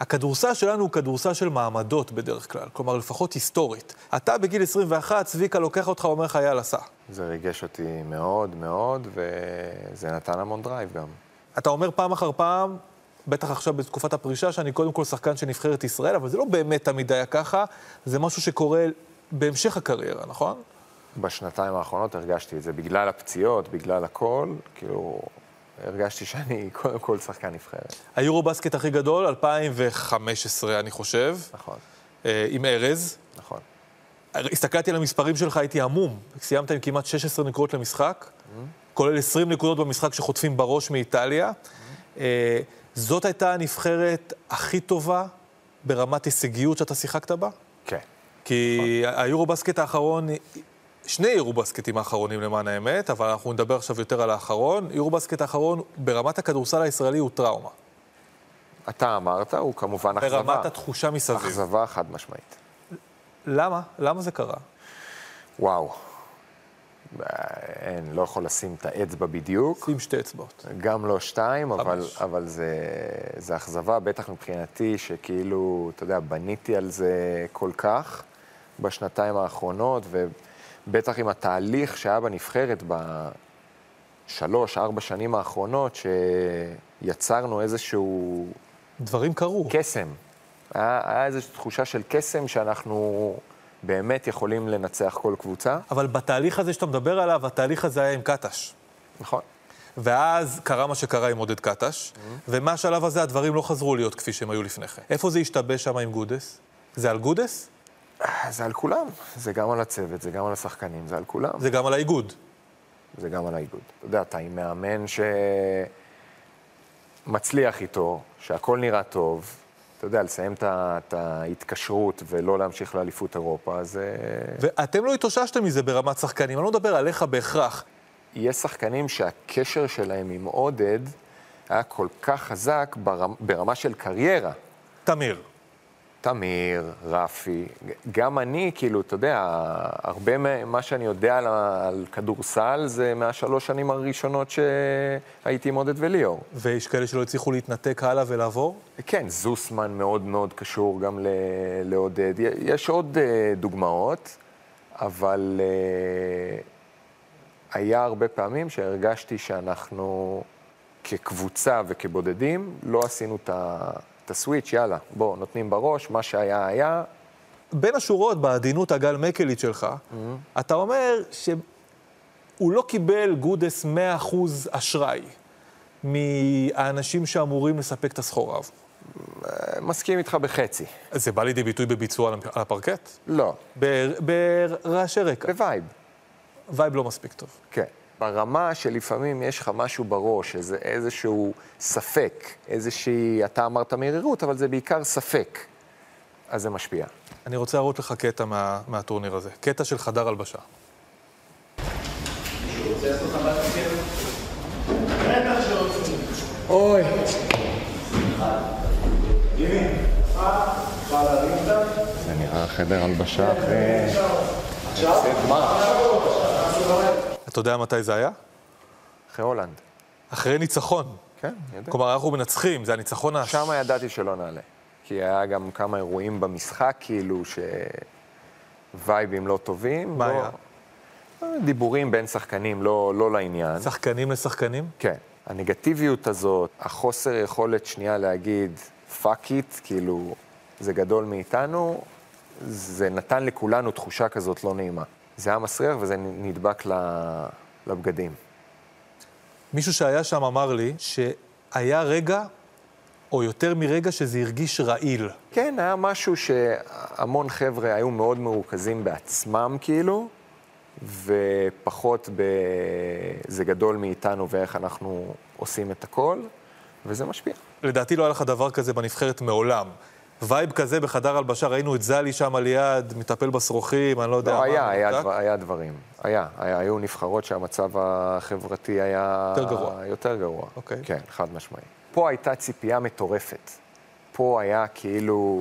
הכדורסל שלנו הוא כדורסל של מעמדות בדרך כלל, כלומר לפחות היסטורית. אתה בגיל 21, צביקה לוקח אותך ואומר לך יאללה, סע.
זה ריגש אותי מאוד מאוד, וזה נתן המון דרייב גם.
אתה אומר פעם אחר פעם, בטח עכשיו בתקופת הפרישה, שאני קודם כל שחקן של נבחרת ישראל, אבל זה לא באמת תמיד היה ככה, זה משהו שקורה בהמשך הקריירה, נכון?
בשנתיים האחרונות הרגשתי את זה, בגלל הפציעות, בגלל הכל, כאילו, הרגשתי שאני קודם כל שחקן נבחרת.
היורו בסקט הכי גדול, 2015, אני חושב,
נכון,
אה, עם ארז.
נכון.
הסתכלתי על המספרים שלך, הייתי המום. סיימת עם כמעט 16 נקודות למשחק, כולל 20 נקודות במשחק שחוטפים בראש מאיטליה. אה, זאת הייתה הנבחרת הכי טובה ברמת הישגיות שאתה שיחקת בה?
כן.
כי היורו בסקט האחרון, שני יורו בסקטים האחרונים למען האמת, אבל אנחנו נדבר עכשיו יותר על האחרון. יורו בסקט האחרון ברמת הכדורסל הישראלי הוא טראומה.
אתה אמרת, הוא כמובן אכזבה.
ברמת התחושה מסביב.
אכזבה חד משמעית.
למה? למה זה קרה?
וואו. אין, לא יכול לשים את האצבע בדיוק.
עם שתי אצבעות.
גם לא שתיים, אבל,
חמש.
אבל זה, זה אכזבה, בטח מבחינתי, שכאילו, אתה יודע, בניתי על זה כל כך בשנתיים האחרונות, ובטח עם התהליך שהיה בנבחרת בשלוש, ארבע שנים האחרונות, שיצרנו איזשהו
דברים קרו.
קסם. היה, היה איזושהי תחושה של קסם שאנחנו באמת יכולים לנצח כל קבוצה.
אבל בתהליך הזה שאתה מדבר עליו, התהליך הזה היה עם קטש.
נכון.
ואז קרה מה שקרה עם עודד קטש, ומהשלב הזה הדברים לא חזרו להיות כפי שהם היו לפני כן. איפה זה השתבש שם עם גודס? זה על גודס?
זה על כולם, זה גם על הצוות, זה גם על השחקנים, זה על כולם.
זה גם על האיגוד.
זה גם על האיגוד. אתה יודע, אתה עם מאמן שמצליח איתו, שהכול נראה טוב, אתה יודע, לסיים את ה- את ההתקשרות ולא להמשיך לאליפות אירופה, אה, זה...
ואתם לא התאוששתם מזה ברמת שחקנים, אני לא מדבר עליך בהכרח.
יש שחקנים שהקשר שלהם עם עודד היה כל כך חזק ברמה, ברמה של קריירה.
תמיר,
תמיר, רפי, גם אני, כאילו, אתה יודע, הרבה ממה שאני יודע על, ה- על כדורסל זה מהשלוש שנים הראשונות שהייתי עם עודד וליאור.
ויש כאלה שלא הצליחו להתנתק הלאה ולעבור?
כן, זוסמן מאוד מאוד קשור גם ל- לעודד. י- יש עוד אה, דוגמאות, אבל אה, היה הרבה פעמים שהרגשתי שאנחנו כקבוצה וכבודדים לא עשינו את ה- את הסוויץ', יאללה, בוא, נותנים בראש, מה שהיה היה,
בין השורות, בעדינות הגל מקלית שלך, אתה אומר שהוא לא קיבל גודס 100% אשראי מהאנשים שאמורים לספק את הסחורה. עבורו.
אה, מסכים איתך בחצי.
זה בא לידי ביטוי בביצוע על הפ- על הפרקט?
לא,
בר- ברעשי רקע.
בווייב,
וייב לא מספיק טוב.
כן. ברמה שלפעמים יש לך משהו בראש, איזה, איזשהו ספק, איזושהי, אתה אמרת מרירות, אבל זה בעיקר ספק, אז זה משפיע.
אני רוצה להראות לך קטע מה, מהטורניר הזה. קטע של חדר הלבשה.
זה נראה חדר הלבשה אחרי... הפסד גמר.
אתה יודע מתי זה היה?
אחרי הולנד.
אחרי ניצחון.
כן, אני יודע.
כלומר, אנחנו מנצחים, זה הניצחון הש...
שם ידעתי שלא נעלה. כי היה גם כמה אירועים במשחק, כאילו, ש... וייבים לא טובים.
מה
לא- אה,
היה?
דיבורים בין שחקנים לא, לא לעניין.
שחקנים לשחקנים?
כן. הנגטיביות הזאת, החוסר יכולת שנייה להגיד, fuck it, כאילו, זה גדול מאיתנו, זה נתן לכולנו תחושה כזאת לא נעימה. זה היה מסריח וזה נדבק ל- לבגדים.
מישהו שהיה שם אמר לי שהיה רגע, או יותר מרגע, שזה הרגיש רעיל.
כן, היה משהו שהמון חבר'ה היו מאוד מרוכזים בעצמם, כאילו, ופחות ב... זה גדול מאיתנו ואיך אנחנו עושים את הכל, וזה משפיע.
לדעתי לא היה לך דבר כזה בנבחרת מעולם. וייב כזה בחדר הלבשה, ראינו את זלי שם על יד, מטפל בשרוכים, אני לא יודע
לא,
מה.
היה, היה,
מנותק.
דבר, היה דברים. היה, היה, היו נבחרות שהמצב החברתי היה...
יותר גרוע.
יותר גרוע.
אוקיי.
כן, חד משמעי. פה הייתה ציפייה מטורפת. פה היה כאילו...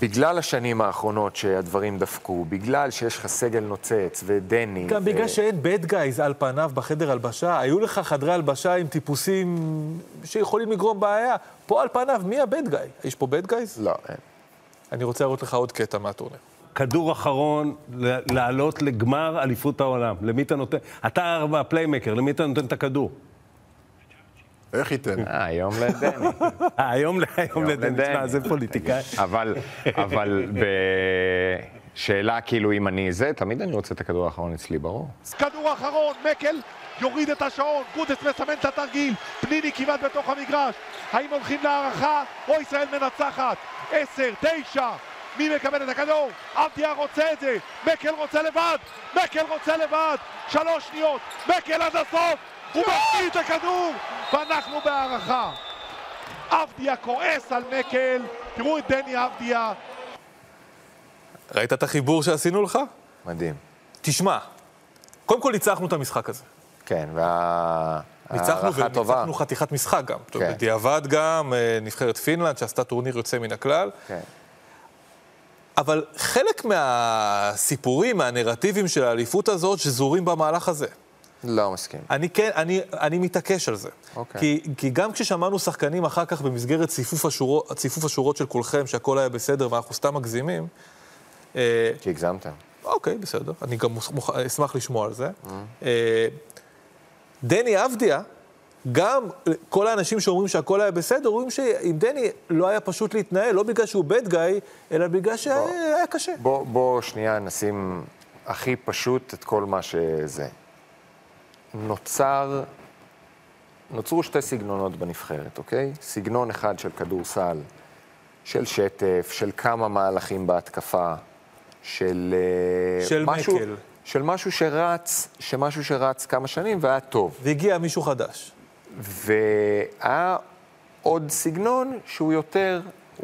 בגלל השנים האחרונות שהדברים דפקו, בגלל שיש לך סגל נוצץ, ודני...
גם בגלל שאין bad guys על פניו בחדר הלבשה, היו לך חדרי הלבשה עם טיפוסים שיכולים לגרום בעיה. פה על פניו, מי ה-bad guy? יש פה bad guys?
לא, אין.
אני רוצה להראות לך עוד קטע מהטורניר.
כדור אחרון, ל- לעלות לגמר אליפות העולם. למי אתה נותן? אתה הפליימקר, למי אתה נותן את הכדור?
איך ייתן?
אה, היום לדני.
אה, היום ל- היום לדני,
לדני.
תשמע, זה
כן.
פוליטיקאי.
אבל, אבל בשאלה כאילו אם אני זה, תמיד אני רוצה את הכדור האחרון אצלי, ברור.
כדור אחרון, מקל יוריד את השעון, גודס מסמן את התרגיל, פניני כמעט בתוך המגרש. האם הולכים להערכה או ישראל מנצחת? עשר, תשע, מי מקבל את הכדור? אבדיה רוצה את זה, מקל רוצה לבד, מקל רוצה לבד, שלוש שניות, מקל עד הסוף, הוא מחטיא את הכדור, ואנחנו בהערכה. אבדיה כועס על מקל, תראו את דני אבדיה,
ראית את החיבור שעשינו לך?
מדהים.
תשמע, קודם כל ניצחנו את המשחק הזה.
כן, וה...
ניצחנו
הערכה טובה.
וניצחנו חתיכת משחק גם. אתה יודע,
כן.
בדיעבד גם, אה, נבחרת פינלנד שעשתה טורניר יוצא מן הכלל.
כן.
אבל חלק מהסיפורים, מהנרטיבים של האליפות הזאת, שזורים במהלך הזה.
לא מסכים.
אני כן, אני, אני מתעקש על זה.
אוקיי.
כי, כי גם כששמענו שחקנים אחר כך במסגרת ציפוף השורות, ציפוף השורות של כולכם, שהכל היה בסדר ואנחנו סתם מגזימים, אה,
כי הגזמתם.
אוקיי, בסדר, אני גם מוכ- מוכ- אשמח לשמוע על זה. אה, דני אבדיה, גם כל האנשים שאומרים שהכל היה בסדר, אומרים שעם דני לא היה פשוט להתנהל, לא בגלל שהוא bad guy, אלא בגלל שהיה היה קשה.
בוא, בוא שנייה נשים הכי פשוט את כל מה שזה. נוצר, נוצרו שתי סגנונות בנבחרת, אוקיי? סגנון אחד של כדורסל, של שטף, של כמה מהלכים בהתקפה, של... אה,
של
משהו,
מקל.
של משהו שרץ, שמשהו שרץ כמה שנים והיה טוב.
והגיע מישהו חדש.
והיה עוד סגנון שהוא יותר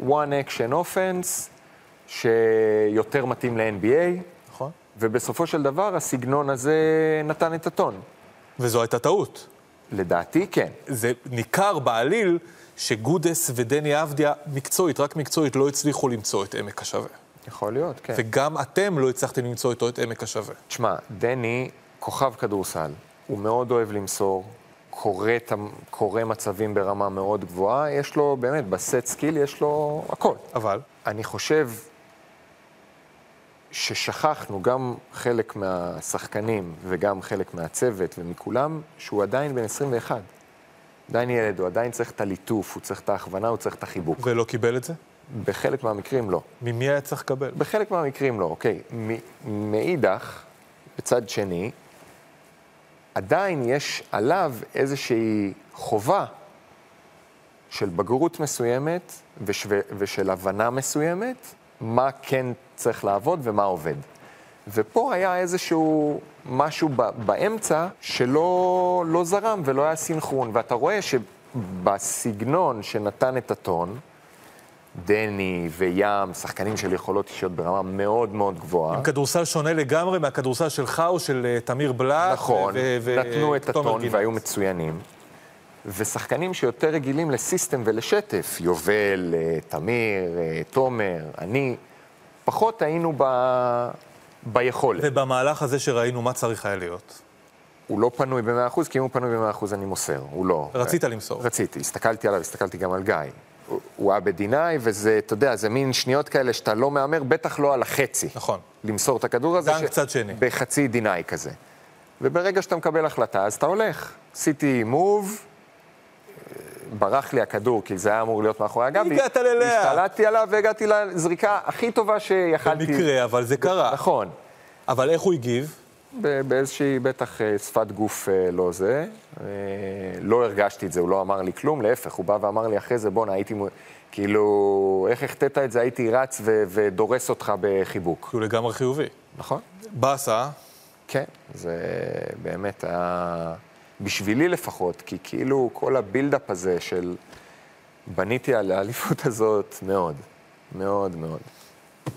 one action offense, שיותר מתאים ל-NBA,
נכון.
ובסופו של דבר הסגנון הזה נתן את הטון.
וזו הייתה טעות.
לדעתי כן.
זה ניכר בעליל שגודס ודני אבדיה, מקצועית, רק מקצועית, לא הצליחו למצוא את עמק השווה.
יכול להיות, כן.
וגם אתם לא הצלחתם למצוא איתו את עמק השווה.
תשמע, דני כוכב כדורסל, הוא מאוד אוהב למסור, קורא, את המ- קורא מצבים ברמה מאוד גבוהה, יש לו באמת, בסט סקיל יש לו הכל.
אבל,
אני חושב ששכחנו גם חלק מהשחקנים וגם חלק מהצוות ומכולם, שהוא עדיין בן 21. עדיין ילד, הוא עדיין צריך את הליטוף, הוא צריך את ההכוונה, הוא צריך את החיבוק.
ולא קיבל את זה?
בחלק מהמקרים לא.
ממי היה צריך לקבל?
בחלק מהמקרים לא, אוקיי. מ- מאידך, בצד שני, עדיין יש עליו איזושהי חובה של בגרות מסוימת ושו... ושל הבנה מסוימת, מה כן צריך לעבוד ומה עובד. ופה היה איזשהו משהו ב- באמצע שלא לא זרם ולא היה סינכרון, ואתה רואה שבסגנון שנתן את הטון, דני וים, שחקנים של יכולות אישיות ברמה מאוד מאוד גבוהה.
עם כדורסל שונה לגמרי מהכדורסל שלך או של אה, תמיר בלאט.
נכון,
ו- ו-
נתנו את
ותומר
הטון
גינת.
והיו מצוינים. ושחקנים שיותר רגילים לסיסטם ולשטף, יובל, אה, תמיר, אה, תומר, אני, פחות היינו ב... ביכולת.
ובמהלך הזה שראינו מה צריך היה להיות.
הוא לא פנוי ב-100%, כי אם הוא פנוי ב-100% אני מוסר, הוא לא.
רצית למסור.
רציתי, הסתכלתי עליו, הסתכלתי גם על גיא. הוא- הוא היה בדיניי, וזה, אתה יודע, זה מין שניות כאלה שאתה לא מהמר, בטח לא על החצי.
נכון.
למסור את הכדור הזה.
דן קצת שני.
בחצי דיניי כזה. וברגע שאתה מקבל החלטה, אז אתה הולך. עשיתי מוב, אה, ברח לי הכדור, כי זה היה אמור להיות מאחורי הגב.
הגעת ללאה.
השתלטתי עליו והגעתי לזריקה הכי טובה שיכלתי.
במקרה, אבל זה קרה.
נכון.
אבל איך הוא הגיב?
ב- באיזושהי בטח אה, שפת גוף אה, לא זה. אה, לא הרגשתי את זה, הוא לא אמר לי כלום, להפך, הוא בא ואמר לי אחרי זה, בואנה, הייתי... מו- כאילו, איך החטאת את זה? הייתי רץ ו- ודורס אותך בחיבוק.
כי הוא לגמרי חיובי.
נכון?
באסה,
כן, זה באמת היה... בשבילי לפחות, כי כאילו כל הבילדאפ הזה של בניתי על האליפות הזאת מאוד. מאוד מאוד.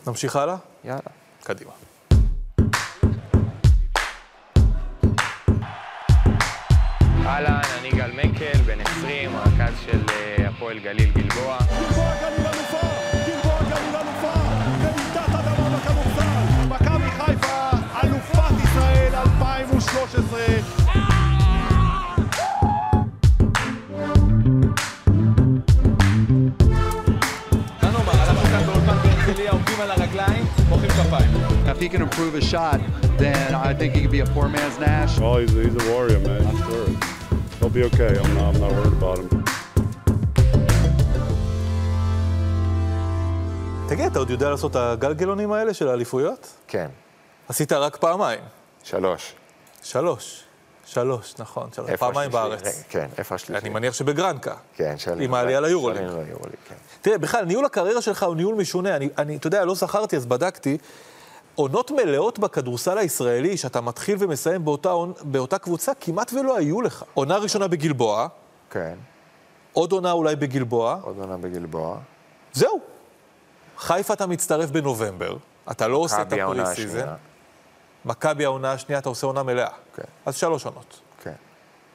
נמשיך הלאה?
יאללה.
קדימה.
אהלן, אני גל מקל, בן 20, רכז של אה, הפועל גליל גלבוע.
גלבוע גליל אלופה! גלבוע גליל אלופה! רעידת אדמה בכדורסל! מכבי חיפה, אלופת ישראל 2013!
If he can improve his shot, then I think he could be a poor man's Nash.
Oh, he's, he's a warrior, man. Sure. He'll be okay. I'm not, I'm not worried about him.
תגיד, אתה עוד יודע לעשות את הגלגלונים האלה של האליפויות?
כן.
עשית רק פעמיים.
שלוש.
שלוש. שלוש, נכון. שלוש.
איפה
פעמיים
השלישי?
בארץ.
רגע, כן, איפה השלישי?
אני מניח שבגרנקה.
כן, שלוש.
עם העלייה ליורוליג.
שלוש ליורוליג, כן.
תראה, בכלל, ניהול הקריירה שלך הוא ניהול משונה. אני, אני, אתה יודע, לא זכרתי, אז בדקתי. עונות מלאות בכדורסל הישראלי, שאתה מתחיל ומסיים באותה, עונ- באותה קבוצה, כמעט ולא היו לך. עונה ראשונה בגלבוע,
כן,
עוד עונה אולי בגלבוע,
עוד עונה בגלבוע.
זהו. חיפה אתה מצטרף בנובמבר, אתה לא עושה את
מכבי העונה
הפרי
השנייה.
סיזן. מכבי העונה השנייה, אתה עושה עונה מלאה.
כן.
אז שלוש עונות.
כן.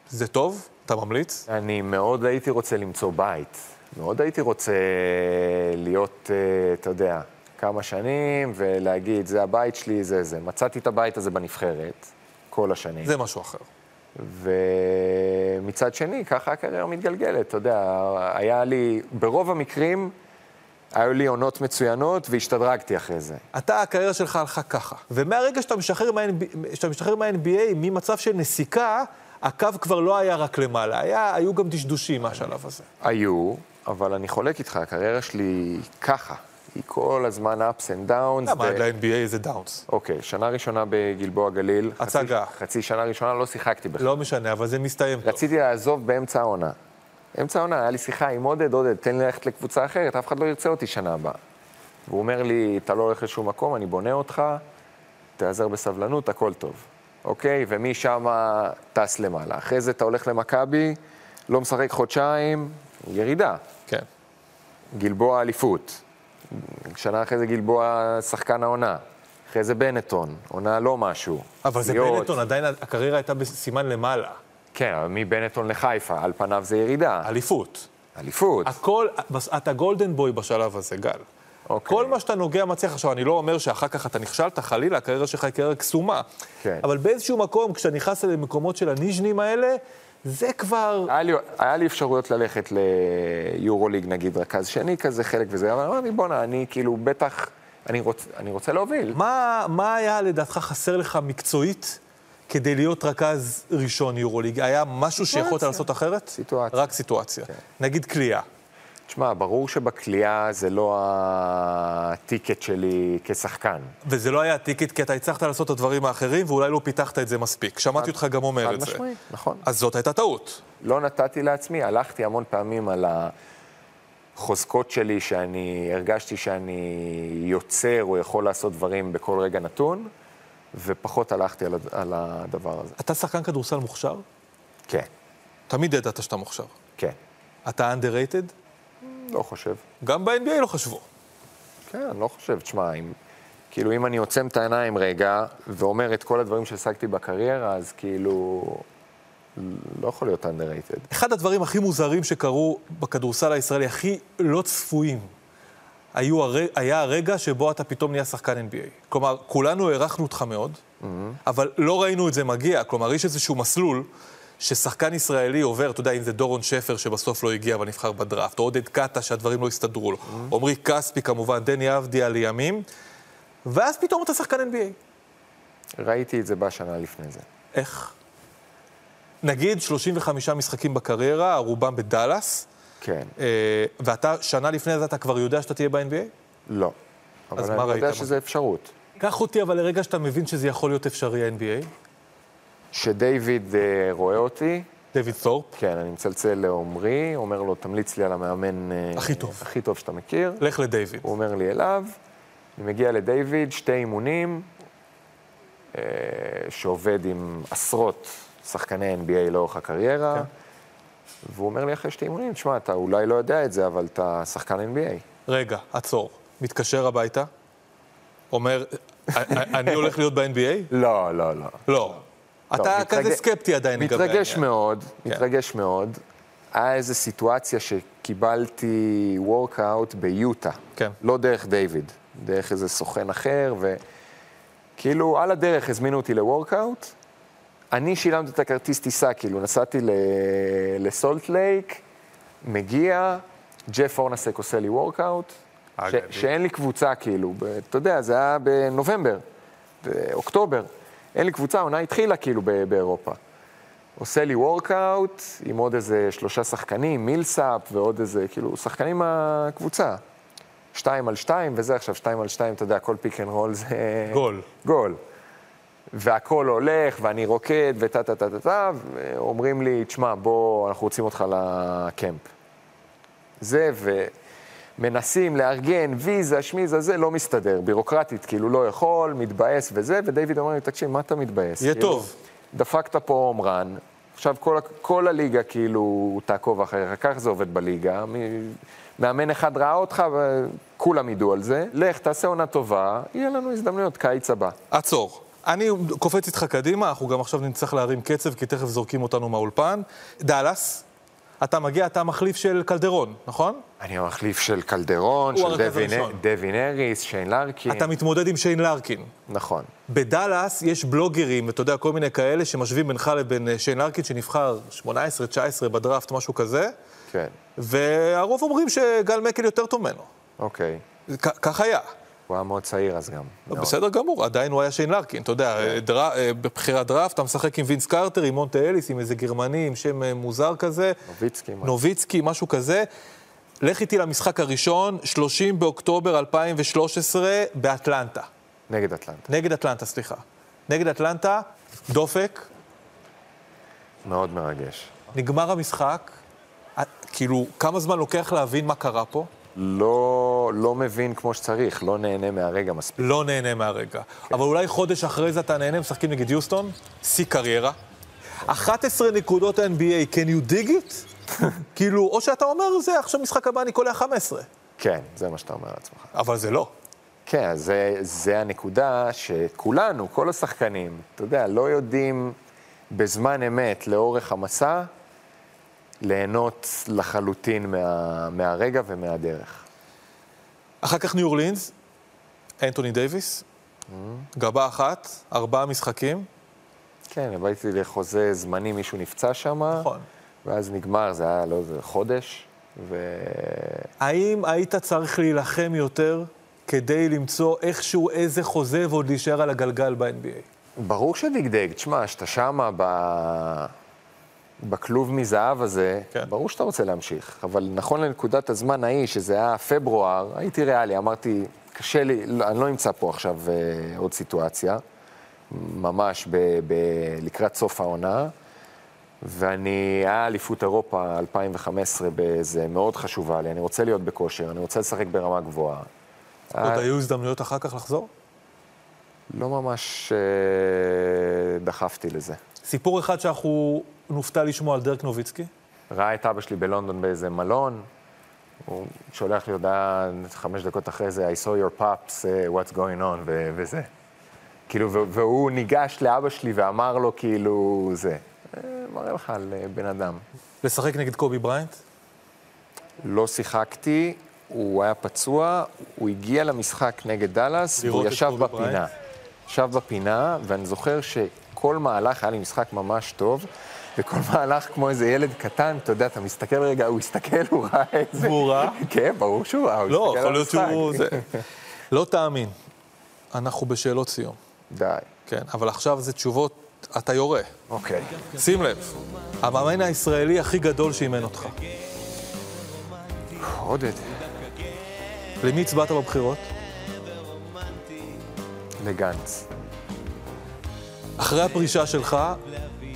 זה טוב? אתה ממליץ?
אני מאוד הייתי רוצה למצוא בית. מאוד הייתי רוצה להיות, אה, אתה יודע, כמה שנים ולהגיד, זה הבית שלי, זה זה. מצאתי את הבית הזה בנבחרת כל השנים.
זה משהו אחר.
ומצד שני, ככה הקריירה מתגלגלת, אתה יודע, היה לי, ברוב המקרים, היו לי עונות מצוינות והשתדרגתי אחרי זה.
אתה, הקריירה שלך הלכה ככה. ומהרגע שאתה משחרר, מה, שאתה משחרר מה-NBA, ממצב של נסיקה, הקו כבר לא היה רק למעלה, היה, היו גם דשדושים מהשלב הזה.
היו, אבל אני חולק איתך, הקריירה שלי ככה. היא כל הזמן ups and downs.
למה
ו-
עד ל-NBA זה דאונס?
אוקיי, שנה ראשונה בגלבוע גליל.
הצגה.
חצי, חצי שנה ראשונה לא שיחקתי בכלל.
לא משנה, אבל זה מסתיים טוב.
רציתי לעזוב באמצע העונה. באמצע העונה, היה לי שיחה עם עודד, עודד, תן לי ללכת לקבוצה אחרת, אף אחד לא ירצה אותי שנה הבאה. והוא אומר לי, אתה לא הולך לשום מקום, אני בונה אותך, תיעזר בסבלנות, הכל טוב. אוקיי, ומשם טס למעלה. אחרי זה אתה הולך למכבי, לא משחק חודשיים, ירידה.
כן.
גלבוע אליפות. שנה אחרי זה גלבוע שחקן העונה. אחרי זה בנטון, עונה לא משהו.
אבל זה
להיות-
בנטון, עדיין הקריירה הייתה בסימן למעלה.
כן, אבל מבנטון לחיפה, על פניו זה ירידה.
אליפות.
אליפות.
הכל, אתה גולדן בוי בשלב הזה, גל.
אוקיי.
כל מה שאתה נוגע מצליח. עכשיו, אני לא אומר שאחר כך אתה נכשלת, חלילה, הקריירה שלך היא קריירה קסומה.
כן.
אבל באיזשהו מקום, כשאתה נכנס למקומות של הניז'נים האלה, זה כבר...
היה לי, היה לי אפשרויות ללכת ליורוליג, נגיד, רכז שני כזה, חלק וזה, אבל אמרתי, בואנה, אני כאילו, בטח, אני, רוצ, אני רוצה להוביל.
מה, מה היה לדעתך חסר לך מקצועית כדי להיות רכז ראשון יורוליג? היה משהו שיכולת לעשות אחרת?
סיטואציה. כן.
רק סיטואציה. נגיד כליאה.
תשמע, ברור שבכלייה זה לא הטיקט שלי כשחקן.
וזה לא היה הטיקט, כי אתה הצלחת לעשות את הדברים האחרים, ואולי לא פיתחת את זה מספיק. שמעתי אותך גם אומר
חד
את זה.
משמעית, נכון.
אז זאת הייתה טעות.
לא נתתי לעצמי, הלכתי המון פעמים על החוזקות שלי, שאני הרגשתי שאני יוצר או יכול לעשות דברים בכל רגע נתון, ופחות הלכתי על, הד- על הדבר הזה.
אתה שחקן כדורסל מוכשר?
כן,
תמיד ידעת שאתה מוכשר.
כן,
אתה underrated?
לא חושב.
גם ב-NBA לא חשבו.
כן, אני לא חושב, תשמע, אם... כאילו, אם אני עוצם את העיניים רגע, ואומר את כל הדברים שהשגתי בקריירה, אז כאילו... לא יכול להיות underrated.
אחד הדברים הכי מוזרים שקרו בכדורסל הישראלי, הכי לא צפויים, היו הר... היה הרגע שבו אתה פתאום נהיה שחקן NBA. כלומר, כולנו הערכנו אותך מאוד, mm-hmm. אבל לא ראינו את זה מגיע. כלומר, יש איזשהו מסלול ששחקן ישראלי עובר, אתה יודע, אם זה דורון שפר שבסוף לא הגיע אבל נבחר בדראפט, או עודד קאטה שהדברים לא הסתדרו לו, mm-hmm. עמרי כספי כמובן, דני אבדיה לימים, ואז פתאום אתה שחקן NBA.
ראיתי את זה בשנה לפני זה.
איך? נגיד 35 משחקים בקריירה, רובם בדאלאס,
כן,
אה, ואתה, שנה לפני זה אתה כבר יודע שאתה תהיה ב-NBA?
לא. אבל
מה
אני
ראית?
יודע שזה אפשרות.
קח אותי אבל לרגע שאתה מבין שזה יכול להיות אפשרי, ה-NBA.
שדייוויד אה, רואה אותי,
דויד תורפ,
כן, אני מצלצל לעומרי, אומר לו, תמליץ לי על המאמן... אה,
הכי טוב.
הכי טוב שאתה מכיר.
לך לדייוויד.
הוא אומר לי אליו, אני מגיע לדיוויד, שתי אימונים, אה,
כן.
שעובד עם עשרות שחקני NBA לאורך הקריירה, והוא אומר לי אחרי שתי אימונים, תשמע, אתה אולי לא יודע את זה, אבל אתה שחקן NBA.
רגע, עצור. מתקשר הביתה, אומר, "אני- אני הולך להיות ב-NBA?
לא, לא, לא.
לא. אתה
מתרגש-
כזה סקפטי עדיין לגבי
מתרגש
העניין.
מאוד,
כן.
מתרגש מאוד. היה איזו סיטואציה שקיבלתי וורקאוט ביוטה.
כן.
לא דרך דיוויד, דרך איזה סוכן אחר, וכאילו על הדרך הזמינו אותי לוורקאוט. אני שילמתי את הכרטיס טיסה, כאילו, נסעתי ל... לסולט לייק, מגיע, ג'ף אורנסק עושה לי וורקאוט, ש... שאין לי קבוצה, כאילו, ב... אתה יודע, זה היה בנובמבר, באוקטובר, אין לי קבוצה, העונה התחילה, כאילו, ב... באירופה. עושה לי וורקאוט עם עוד איזה שלושה שחקנים, מילסאפ ועוד איזה, כאילו, שחקנים מהקבוצה. שתיים על שתיים, וזה עכשיו שתיים על שתיים, אתה יודע, כל פיק אנד רול זה...
גול.
גול. והכל הולך, ואני רוקד, וטה טה טה טה טה, ואומרים לי, תשמע, בוא, אנחנו רוצים אותך לקמפ. זה, ומנסים לארגן ויזה, שמיזה, זה, לא מסתדר, בירוקרטית, כאילו לא יכול, מתבאס וזה, ודייוויד אומר לי, תקשיב, מה אתה מתבאס?
יהיה
כאילו,
טוב.
דפקת פה עומרן, עכשיו כל, ה- כל הליגה כאילו תעקוב אחריך, כך זה עובד בליגה. מ- מאמן אחד ראה אותך, וכולם ידעו על זה. לך, תעשה עונה טובה, יהיה לנו הזדמנויות, קיץ הבא.
עצור. אני קופץ איתך קדימה, אנחנו גם עכשיו נצטרך להרים קצב, כי תכף זורקים אותנו מהאולפן. דאלאס, אתה מגיע, אתה המחליף של קלדרון, נכון?
אני המחליף של קלדרון,
הוא
של
הרכז
דווין-
הראשון.
דווין אריס, שיין לארקין.
אתה מתמודד עם שיין לארקין.
נכון.
בדאלאס יש בלוגרים, ואתה יודע, כל מיני כאלה שמשווים בינך לבין אה, שיין לארקין, שנבחר 18-19 בדראפט, משהו כזה,
כן,
והרוב אומרים שגל מקל יותר טוב ממנו.
אוקיי.
כ- כך היה.
הוא היה מאוד צעיר אז גם.
לא,
מאוד.
בסדר גמור, עדיין הוא היה שיין לארקין, אתה יודע,
כן.
אה, דרא- אה, בבחירת דראפט, אתה משחק עם וינס קרטר, עם מונטה אליס, עם איזה גרמני, עם שם אה, מוזר כזה.
נוביצקי, מה?
נוביצקי, משהו כזה. לך איתי למשחק הראשון, 30 באוקטובר 2013, באטלנטה.
נגד אטלנטה.
נגד אטלנטה, סליחה. נגד אטלנטה, דופק,
מאוד מרגש.
נגמר המשחק. אה, כאילו, כמה זמן לוקח להבין מה קרה פה?
לא, לא מבין כמו שצריך, לא נהנה מהרגע מספיק.
לא נהנה מהרגע. אבל אולי חודש אחרי זה אתה נהנה, משחקים נגד יוסטון, שיא קריירה. 11 נקודות NBA, can you dig it? כאילו, או שאתה אומר, זה עכשיו משחק הבא, אני קולע 15.
כן, זה מה שאתה אומר לעצמך.
אבל זה לא.
כן, אז זה, זה הנקודה שכולנו, כל השחקנים, אתה יודע, לא יודעים בזמן אמת, לאורך המסע, ליהנות לחלוטין מה, מהרגע ומהדרך.
אחר כך ניו אורלינס, אנטוני דייוויס, גבה אחת, ארבעה משחקים.
כן, הבאתי לחוזה זמני, מישהו נפצע שם,
נכון.
ואז נגמר, זה היה, לא יודע, חודש, ו...
האם היית צריך להילחם יותר כדי למצוא איכשהו איזה חוזה ועוד להישאר על הגלגל ב-NBA?
ברור שדגדג, תשמע, שאתה שמה ב... בכלוב מזהב הזה,
כן.
כן. ברור שאתה רוצה להמשיך, אבל נכון לנקודת הזמן ההיא, שזה היה פברואר, הייתי ריאלי, אמרתי, קשה לי, לא, אני לא אמצא פה עכשיו אה, עוד סיטואציה, ממש ב, ב, לקראת סוף העונה, ואני, היה אליפות אירופה 2015 באיזה מאוד חשובה לי, אני רוצה להיות בכושר, אני רוצה לשחק ברמה גבוהה. אה,
עוד היו הזדמנויות אחר כך לחזור?
לא ממש אה, דחפתי לזה.
סיפור אחד שאנחנו נופתע לשמוע על דרק נוביצקי.
ראה את אבא שלי בלונדון באיזה מלון, הוא שולח לי הודעה חמש דקות אחרי זה, I saw your pops, uh, what's going on, ו- וזה. כאילו, ו- והוא ניגש לאבא שלי ואמר לו, כאילו, זה. אה, מראה לך על אה, בן אדם.
לשחק נגד קובי בריינט?
לא שיחקתי, הוא היה פצוע, הוא הגיע למשחק נגד דאלאס,
לראות
והוא
את
ישב
קובי
בפינה.
בריינט?
ישב בפינה, ואני זוכר שכל מהלך, היה לי משחק ממש טוב, וכל מהלך כמו איזה ילד קטן, אתה יודע, אתה מסתכל רגע, הוא הסתכל, הוא ראה את זה.
והוא ראה?
כן, ברור שהוא ראה, הוא הסתכל
לא,
על המשחק.
יכול להיות שהוא... זה. לא תאמין, אנחנו בשאלות סיום.
די,
כן, אבל עכשיו זה תשובות, אתה יורה.
אוקיי.
שים לב, המאמן הישראלי הכי גדול שאימן אותך.
עודד,
למי הצבעת בבחירות?
לגנץ.
אחרי הפרישה שלך,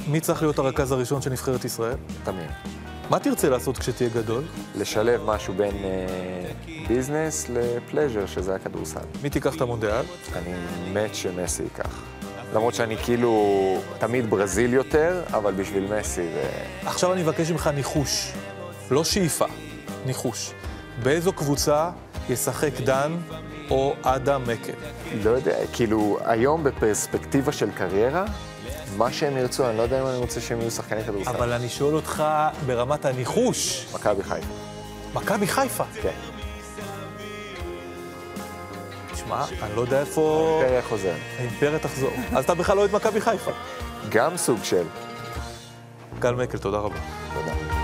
מי צריך להיות הרכז הראשון של נבחרת ישראל?
תמים.
מה תרצה לעשות כשתהיה גדול?
לשלב משהו בין אה, ביזנס לפלז'ר, שזה הכדורסל.
מי תיקח את המונדיאל?
אני מת שמסי ייקח. למרות שאני כאילו תמיד ברזיל יותר, אבל בשביל מסי זה...
עכשיו אני מבקש ממך ניחוש, לא שאיפה, ניחוש. באיזו קבוצה ישחק דן או אדם מקל?
לא יודע, כאילו, היום בפרספקטיבה של קריירה, מה שהם ירצו, אני לא יודע אם אני רוצה שהם יהיו שחקני כדורסל.
אבל אני שואל אותך ברמת הניחוש,
מכבי חיפה,
מכבי חיפה.
כן.
תשמע, אני לא יודע איפה...
פרק חוזר.
האימפריה תחזור. אז אתה בכלל לא אוהד מכבי חיפה.
גם סוג של.
גל מקל, תודה רבה.
תודה.